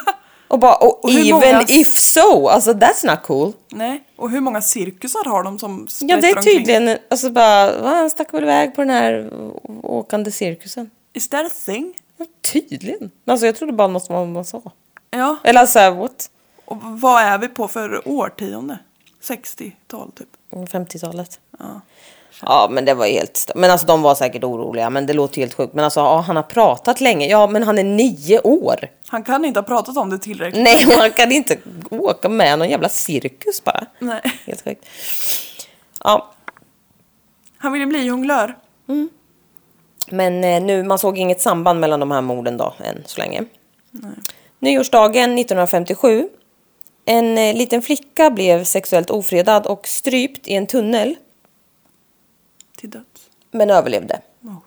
Och bara, och, Och hur even många- if so! Alltså that's not cool. Nej. Och hur många cirkusar har de som Ja det är sprätter omkring? tydligen, alltså bara, va, han stack väl iväg på den här å- åkande cirkusen. Is that a thing? Ja, Tydligen. Alltså jag trodde bara något som man- man sa. Ja. Eller såhär what? Och vad är vi på för årtionde? 60-tal typ. Mm, 50-talet. Ja. Ja men det var ju helt... st- Men alltså de var säkert oroliga men det låter ju helt sjukt. Men alltså ja, han har pratat länge. Ja men han är nio år. Han kan inte ha pratat om det tillräckligt. Nej man kan inte åka med någon jävla cirkus bara. Nej. Helt sjukt. Ja Han ville bli jonglör. men eh, nu man såg inget samband mellan de här morden då än så länge. Nej. Nyårsdagen 1957. En eh, liten flicka blev sexuellt ofredad och strypt i en tunnel Till döds. men överlevde. Oh.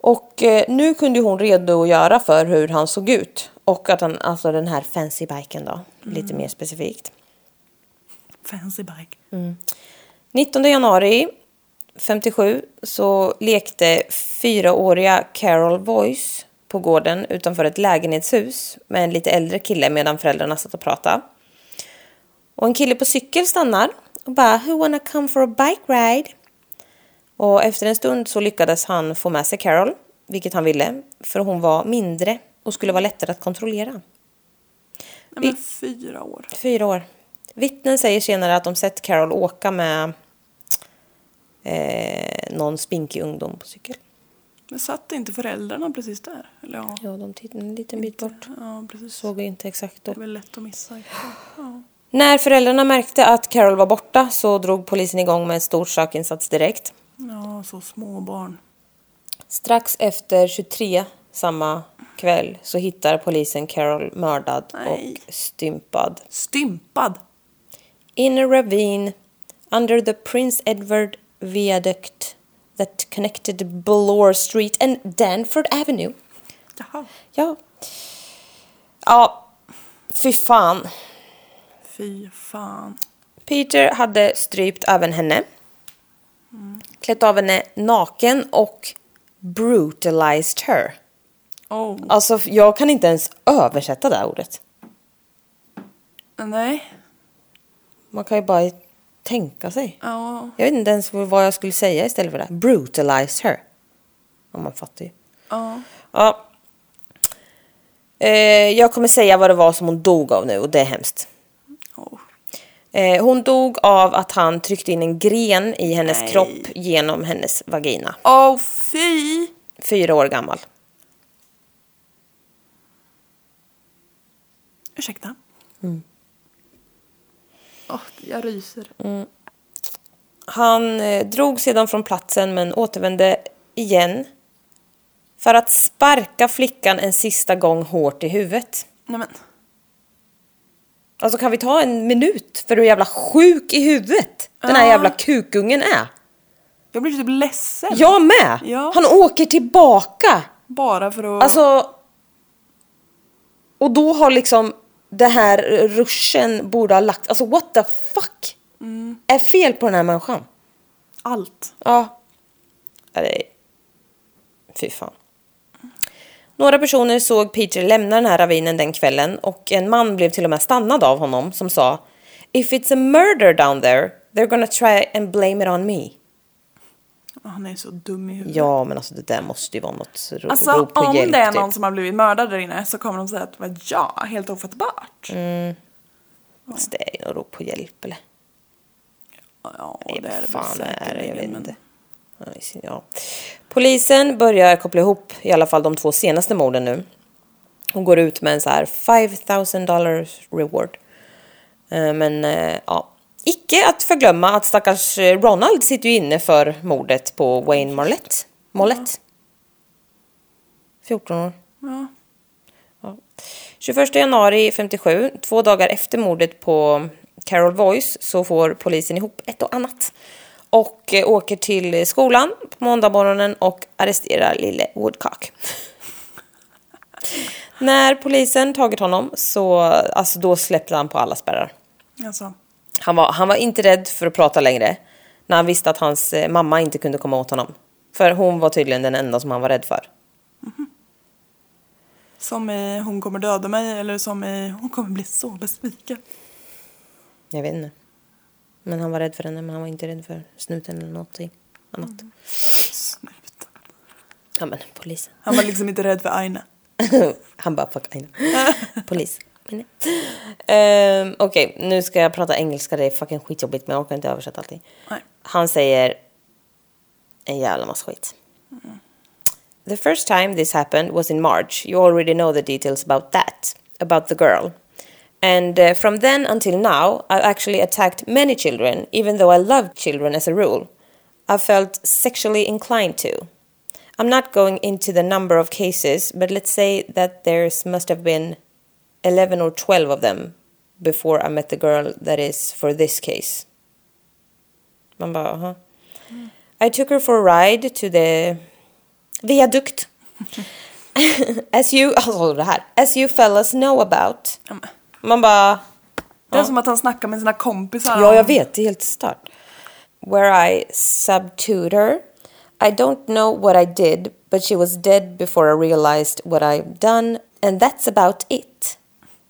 Och eh, nu kunde hon redogöra för hur han såg ut. Och att han, alltså den här fancy biken då, lite mer specifikt. Fancy bike. 19 januari 57 så lekte fyraåriga Carol Boyce på gården utanför ett lägenhetshus med en lite äldre kille medan föräldrarna satt och pratade. Och en kille på cykel stannar och bara “Who wanna come for a bike ride?” Och efter en stund så lyckades han få med sig Carol, vilket han ville, för hon var mindre och skulle vara lättare att kontrollera. Nej, men fyra år. Fyra år. Vittnen säger senare att de sett Carol åka med eh, någon spinkig ungdom på cykel. Men satt inte föräldrarna precis där? Eller ja. Ja, de tittade en liten bit bort. Ja, precis. Såg inte exakt då. Det är väl lätt att missa. Ja. När föräldrarna märkte att Carol var borta så drog polisen igång med en stor sökinsats direkt. ja, så små barn. Strax efter 23 samma kväll så hittar polisen Carol mördad Nej. och stympad. Stympad! In a ravine under the Prince Edward Viaduct that connected Ballore Street and Danford Avenue. Jaha. Ja. Ja, fy fan. Fy fan. Peter hade strypt även henne. Klätt av henne naken och brutalized her. Oh. Alltså, jag kan inte ens översätta det här ordet. Nej. Man kan ju bara tänka sig. Ja. Jag vet inte ens vad jag skulle säga istället för det. Brutalized her. Ja, man fattar ju. Ja. Ja. Eh, jag kommer säga vad det var som hon dog av nu och det är hemskt. Oh. Eh, hon dog av att han tryckte in en gren i hennes Nej. kropp genom hennes vagina. oh, fy! Fyra år gammal. Ursäkta. Mm. Åh, jag ryser. Mm. Han eh, drog sedan från platsen men återvände igen för att sparka flickan en sista gång hårt i huvudet. Nej men. Alltså kan vi ta en minut för hur jävla sjuk i huvudet den här Ja. jävla kukungen är? Jag blir typ ledsen. Jag med! Ja. Han åker tillbaka! Bara för att... Alltså... Och då har liksom det här ruschen borde ha lagt... Alltså what the fuck? Mm. Är fel på den här människan? allt. Ja. Ja, det är- Fy fan. Några personer såg Peter lämna den här ravinen den kvällen och en man blev till och med stannad av honom som sa If it's a murder down there, they're gonna try and blame it on me. Ja, Han är så dum i huvudet. Ja, men alltså det där måste ju vara något ro- Alltså rop på om hjälp, det är typ. någon som har blivit mördad där inne så kommer de säga att men ja, helt ofattbart. Mm. Alltså, det är ju något rop på hjälp eller? Ja, Nej, det är det fan väl är det? Jag vet säkerligen, men- inte. Ja, i sin- Ja. Polisen börjar koppla ihop i alla fall de två senaste morden nu. Hon går ut med en så här 5000 dollars reward. Eh, Men eh, ja, icke att förglömma att stackars eh, Ronald sitter ju inne för mordet på Wayne Marlett. Mollett. 14 år. Ja. Ja. 21 januari 57, två dagar efter mordet på Carol Voice, så får polisen ihop ett och annat. Och eh, åker till skolan på måndagmorgonen och arresterar lille Woodcock. När polisen tagit honom så alltså då släppte han på alla spärrar. Alltså, Han var, han var inte rädd för att prata längre när han visste att hans eh, mamma inte kunde komma åt honom. För hon var tydligen den enda som han var rädd för. som i hon kommer döda mig eller som i hon kommer bli så besviken. Jag vet inte. Men han var rädd för henne, men han var inte rädd för snuten eller någonting annat. Snut. Ja men polisen. Han var liksom inte rädd för Aina. han bara fuck I know. Polis. Um, Okej, nu ska jag prata engelska. Det är fucking skitjobbigt men jag orkar inte översätta allting. Nej. Han säger en jävla massa skit. The first time this happened was in March. You already know the details about that, about the girl. And uh, from then until now, I've actually attacked many children, even though I love children as a rule. I felt sexually inclined to. I'm not going into the number of cases, but let's say that there's must have been 11 or 12 of them before I met the girl that is for this case. Man bara, aha. I took her for a ride to the viaduct. As you, alltså det här. As you fellas know about. Ja, men. Man bara, Det är som att han snackar med sina kompisar. ja jag vet, det är helt stört. Where I subdued her. I don't know what I did, but she was dead before I realized what I've done. And that's about it.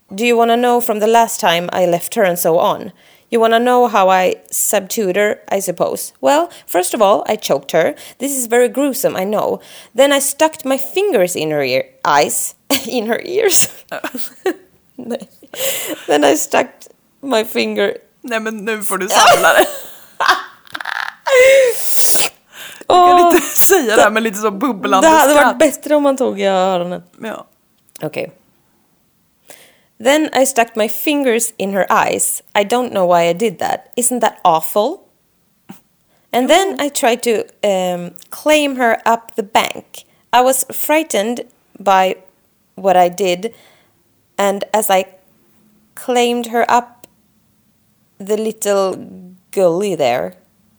Do you want to know from the last time I left her and so on? You want to know how I subdued her, I suppose. Well, first of all, I choked her. This is very gruesome, I know. Then I stuck my fingers in her ear eyes, in her ears. Nej. Then I stuck my finger... Nej men nu får du samla det. Jag kan Åh, inte säga det här med lite så bubblande det hade varit skratt. bättre om man tog i öronen. Ja. Okay. Then I stuck my fingers in her eyes. I don't know why I did that. Isn't that awful? And then I tried to um, claim her up the bank. I was frightened by what I did, and as I claimed her up the little gully there, oh,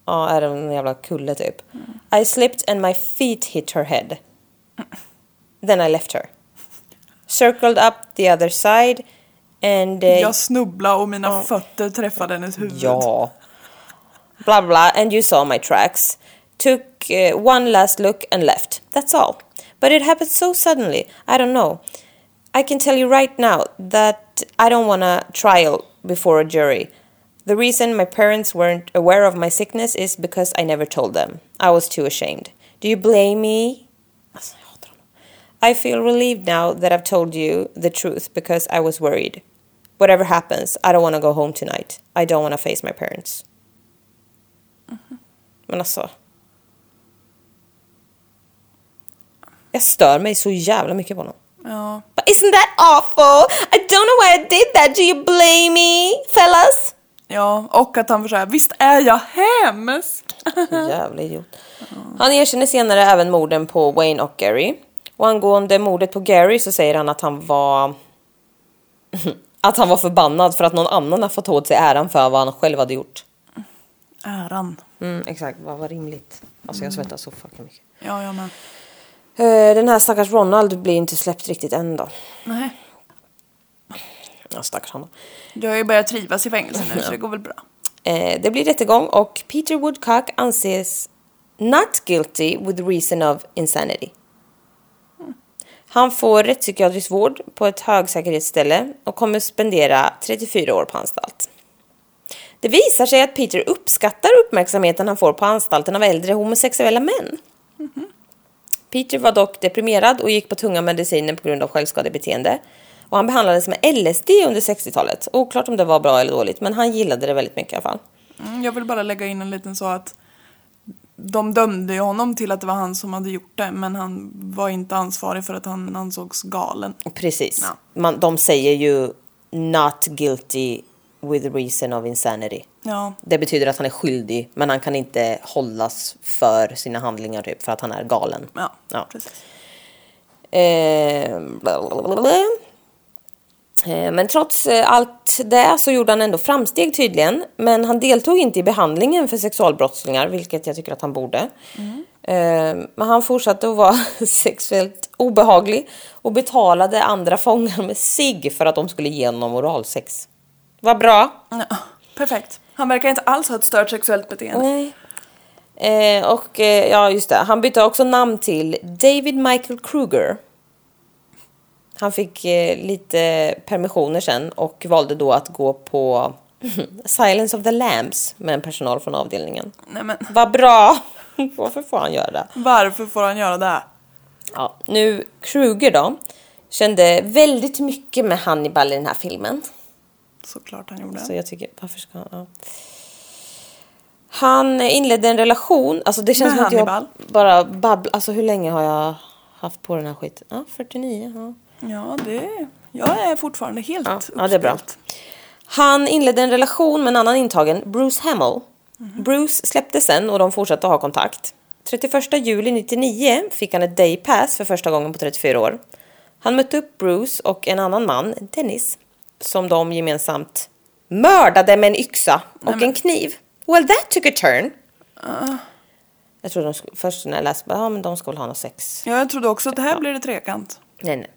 ja, är det en jävla kulle typ, I slipped and my feet hit her head. Then I left her. Circled up the other side and... eh, Jag snubblade och mina fötter träffade hennes huvud. Ja. Blah blah, and you saw my tracks. Took eh, one last look and left. That's all. But it happened so suddenly. I don't know. I can tell you right now that I don't want a trial before a jury. The reason my parents weren't aware of my sickness is because I never told them. I was too ashamed. Do you blame me? Alltså, jag hatar honom. I feel relieved now that I've told you the truth because I was worried. Whatever happens, I don't want to go home tonight. I don't want to face my parents. Men alltså. Jag stör mig så jävla mycket på honom. Ja. But isn't that awful? I don't know why I did that. Do you blame me, fellas? ja. Och att han var såhär, visst är jag hemsk? Jävla idiot. Han erkänner senare även morden på Wayne och Gary. Och angående mordet på Gary så säger han att han var... att han var förbannad för att någon annan har fått åt sig äran för vad han själv hade gjort. Äran. Mm, exakt, vad var rimligt. Alltså jag svettas så fucking mycket. Ja, jag med. Eh, Den här stackars Ronald blir inte släppt riktigt än då. Nej. Ja, stackars han då. Jag har ju börjat trivas i fängelse nu så det går väl bra. Eh, Det blir rättegång och Peter Woodcock anses not guilty with reason of insanity. Han får rättspsykiatrisk vård på ett högsäkerhetsställe och kommer spendera 34 år på anstalt. Det visar sig att Peter uppskattar uppmärksamheten han får på anstalten av äldre homosexuella män. Peter var dock deprimerad och gick på tunga mediciner på grund av självskadebeteende. Och han behandlades med LSD under 60-talet. Oklart om det var bra eller dåligt, men han gillade det väldigt mycket i alla fall. Mm, jag vill bara lägga in en liten så att de dömde ju honom till att det var han som hade gjort det men han var inte ansvarig för att han ansågs galen. Precis. Ja. Man, de säger ju not guilty with reason of insanity. Ja, Det betyder att han är skyldig, men han kan inte hållas för sina handlingar typ, för att han är galen. ja, Ja. precis. Eh, blablabla. Eh, Men trots eh, allt det så gjorde han ändå framsteg tydligen. Men han deltog inte i behandlingen för sexualbrottslingar, vilket jag tycker att han borde. Eh, Men han fortsatte att vara sexuellt obehaglig och betalade andra fångar med sig för att de skulle ge honom oralsex. Vad bra! Ja, perfekt. Han verkar inte alls ha ett stört sexuellt beteende. Nej. Eh, och eh, ja, just det. Han bytte också namn till David Michael Kruger. Han fick eh, lite permissioner sen och valde då att gå på Silence of the Lambs med en personal från avdelningen. Nej men Vad bra! Varför får han göra det? varför får han göra det? Ja, nu Kruger då. Kände väldigt mycket med Hannibal i den här filmen. Såklart han gjorde. Så jag tycker, varför ska han... Ja. Han inledde en relation, alltså det känns Med som att jag Hannibal. bara babblar. Alltså hur länge har jag haft på den här skiten? Ja, 49. Ja. Ja, det... Jag är fortfarande helt Ja, ja, det är bra. uppspelt. Han inledde en relation med en annan intagen, Bruce Hamill. Bruce släpptes sen och de fortsatte ha kontakt. 31 juli 99 fick han ett day pass för första gången på 34 år. Han mötte upp Bruce och en annan man, Dennis, som de gemensamt mördade med en yxa och en kniv. Well that took a turn. Ah. Jag trodde de skulle, först när jag läste, ja men de ska väl ha något sex. Ja, jag trodde också att det här blir det trekant. Nej, nej.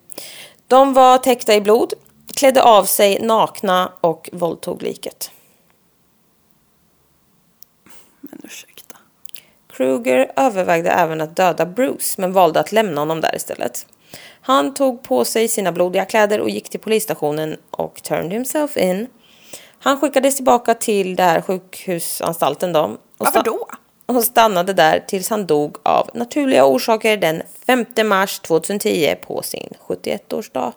De var täckta i blod, klädde av sig nakna och våldtog liket. Men ursäkta. Kruger övervägde även att döda Bruce men valde att lämna honom där istället. Han tog på sig sina blodiga kläder och gick till polisstationen och turned himself in. Han skickades tillbaka till det här sjukhusanstalten då. Och Varför sta- då? Och stannade där tills han dog av naturliga orsaker den 5 mars 2010 på sin 71-årsdag.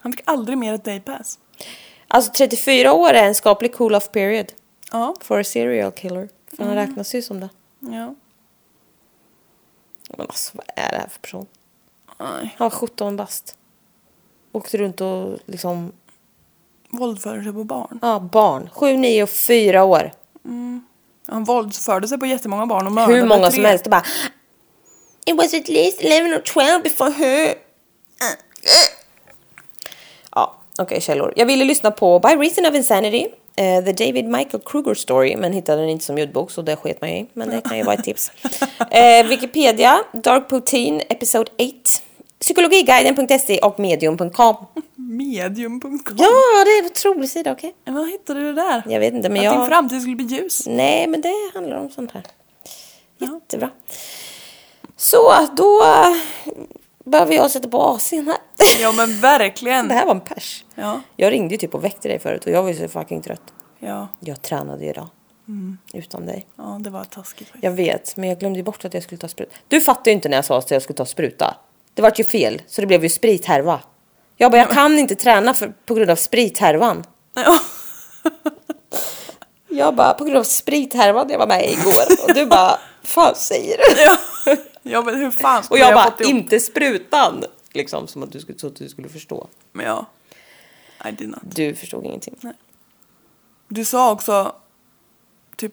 Han fick aldrig mer ett daypass. Alltså 34 år är en skaplig cool-off period Ja. for a serial killer. För han räknas ju som det. ja. Men alltså vad är det här för person? Nej. Han var 17 bast. Åkte runt och liksom, Våldförde sig på barn. ja barn. 7, 9 och 4 år. Han våldsförde sig på jättemånga barn och mördade Hur många tre. som helst och bara It was at least 11 or 12 before her. Ja, okej källor. Jag ville lyssna på By Reason of Insanity, eh, The David Michael Kruger Story, men hittade den inte som ljudbok så det sket man ju i. Men det kan ju vara ett tips. Eh, Wikipedia, Dark Poutine, Episode 8, Psykologiguiden.se E och Medium.com. Medium.com. Ja, det är en otrolig sida, okej? Men Vad hittade du där? Jag vet inte, men Att din jag... framtid skulle bli ljus. Nej, men det handlar om sånt här. Ja. Jättebra. Så, då eh, behöver jag sätta på AC'n här. Ja men verkligen. Det här var en pers. Ja. Jag ringde ju typ och väckte dig förut och jag var ju så fucking trött. Ja. Jag tränade ju idag. Mm. Utan dig. ja, det var taskigt faktiskt. Jag vet, men jag glömde ju bort att jag skulle ta spruta. Du fattade ju inte när jag sa att jag skulle ta spruta. Det vart ju fel, så det blev ju sprithärva. Jag bara, jag kan inte träna för, på grund av sprithärvan. Ja. Jag bara, på grund av sprithärvan jag var med i igår. Och du bara, fan säger du? ja men hur fan Och skulle jag bara, fått ihop? inte sprutan! Liksom som att du skulle, så att du skulle förstå. Men ja. I did not. Du förstod ingenting. Du sa också typ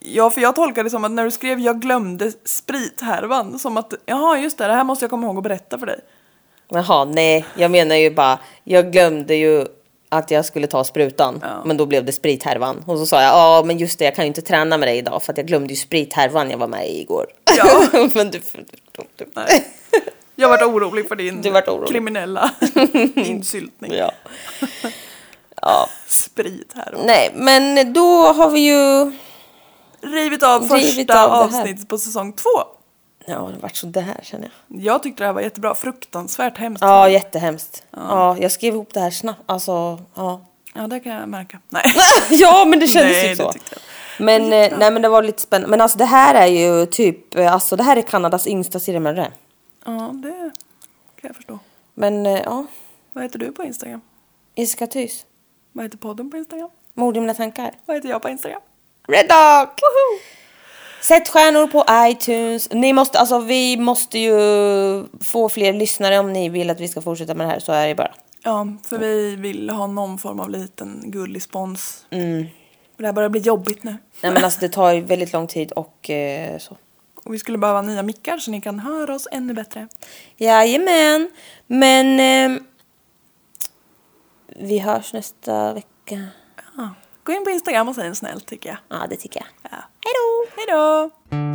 Ja, för jag tolkade det som att när du skrev jag glömde sprithärvan som att jaha just det, det här måste jag komma ihåg att berätta för dig. Jaha, nej, jag menar ju bara, jag glömde ju att jag skulle ta sprutan. Ja. Men då blev det sprithärvan. Och så sa jag, ja men just det, jag kan ju inte träna med dig idag för att jag glömde ju sprithärvan jag var med i igår. Ja. men du, du, du, du. Nej. Jag vart orolig för din Du vart orolig. kriminella insyltning. Ja. ja. Sprithärvan. Nej, men då har vi ju... Rivit av första Rivit av det här. avsnittet på säsong två. Ja, det har varit så det här känner jag. Jag tyckte det här var jättebra, fruktansvärt hemskt. Ja, jättehemskt. Ja. jag skrev ihop det här snabbt. Alltså, ja. Ja, det kan jag märka. Nej. ja men det kändes Nej, ju det så. tyckte jag. Men, eh, nej, men det var lite spännande. Men alltså det här är ju typ, eh, alltså det här är Kanadas yngsta seriemördare. Ja, det kan jag förstå. Men eh, ja, Vad heter du på Instagram? Jessica Thys. Vad heter podden på Instagram? Mord i mina tankar. Vad heter jag på Instagram? Red Dog! Sätt stjärnor på iTunes. Ni måste, alltså vi måste ju få fler lyssnare om ni vill att vi ska fortsätta med det här. Så är det bara. Ja, för vi vill ha någon form av liten gullig spons. För Det här börjar bli jobbigt nu. Mm. Nej men alltså det tar ju väldigt lång tid och eh, så. Och vi skulle behöva nya mickar så ni kan höra oss ännu bättre. Jajamän. Men ehm, vi hörs nästa vecka. Ja. Gå in på Instagram och säg en snäll tycker jag. Ja, det tycker jag. Ja. Hej då! Hej då!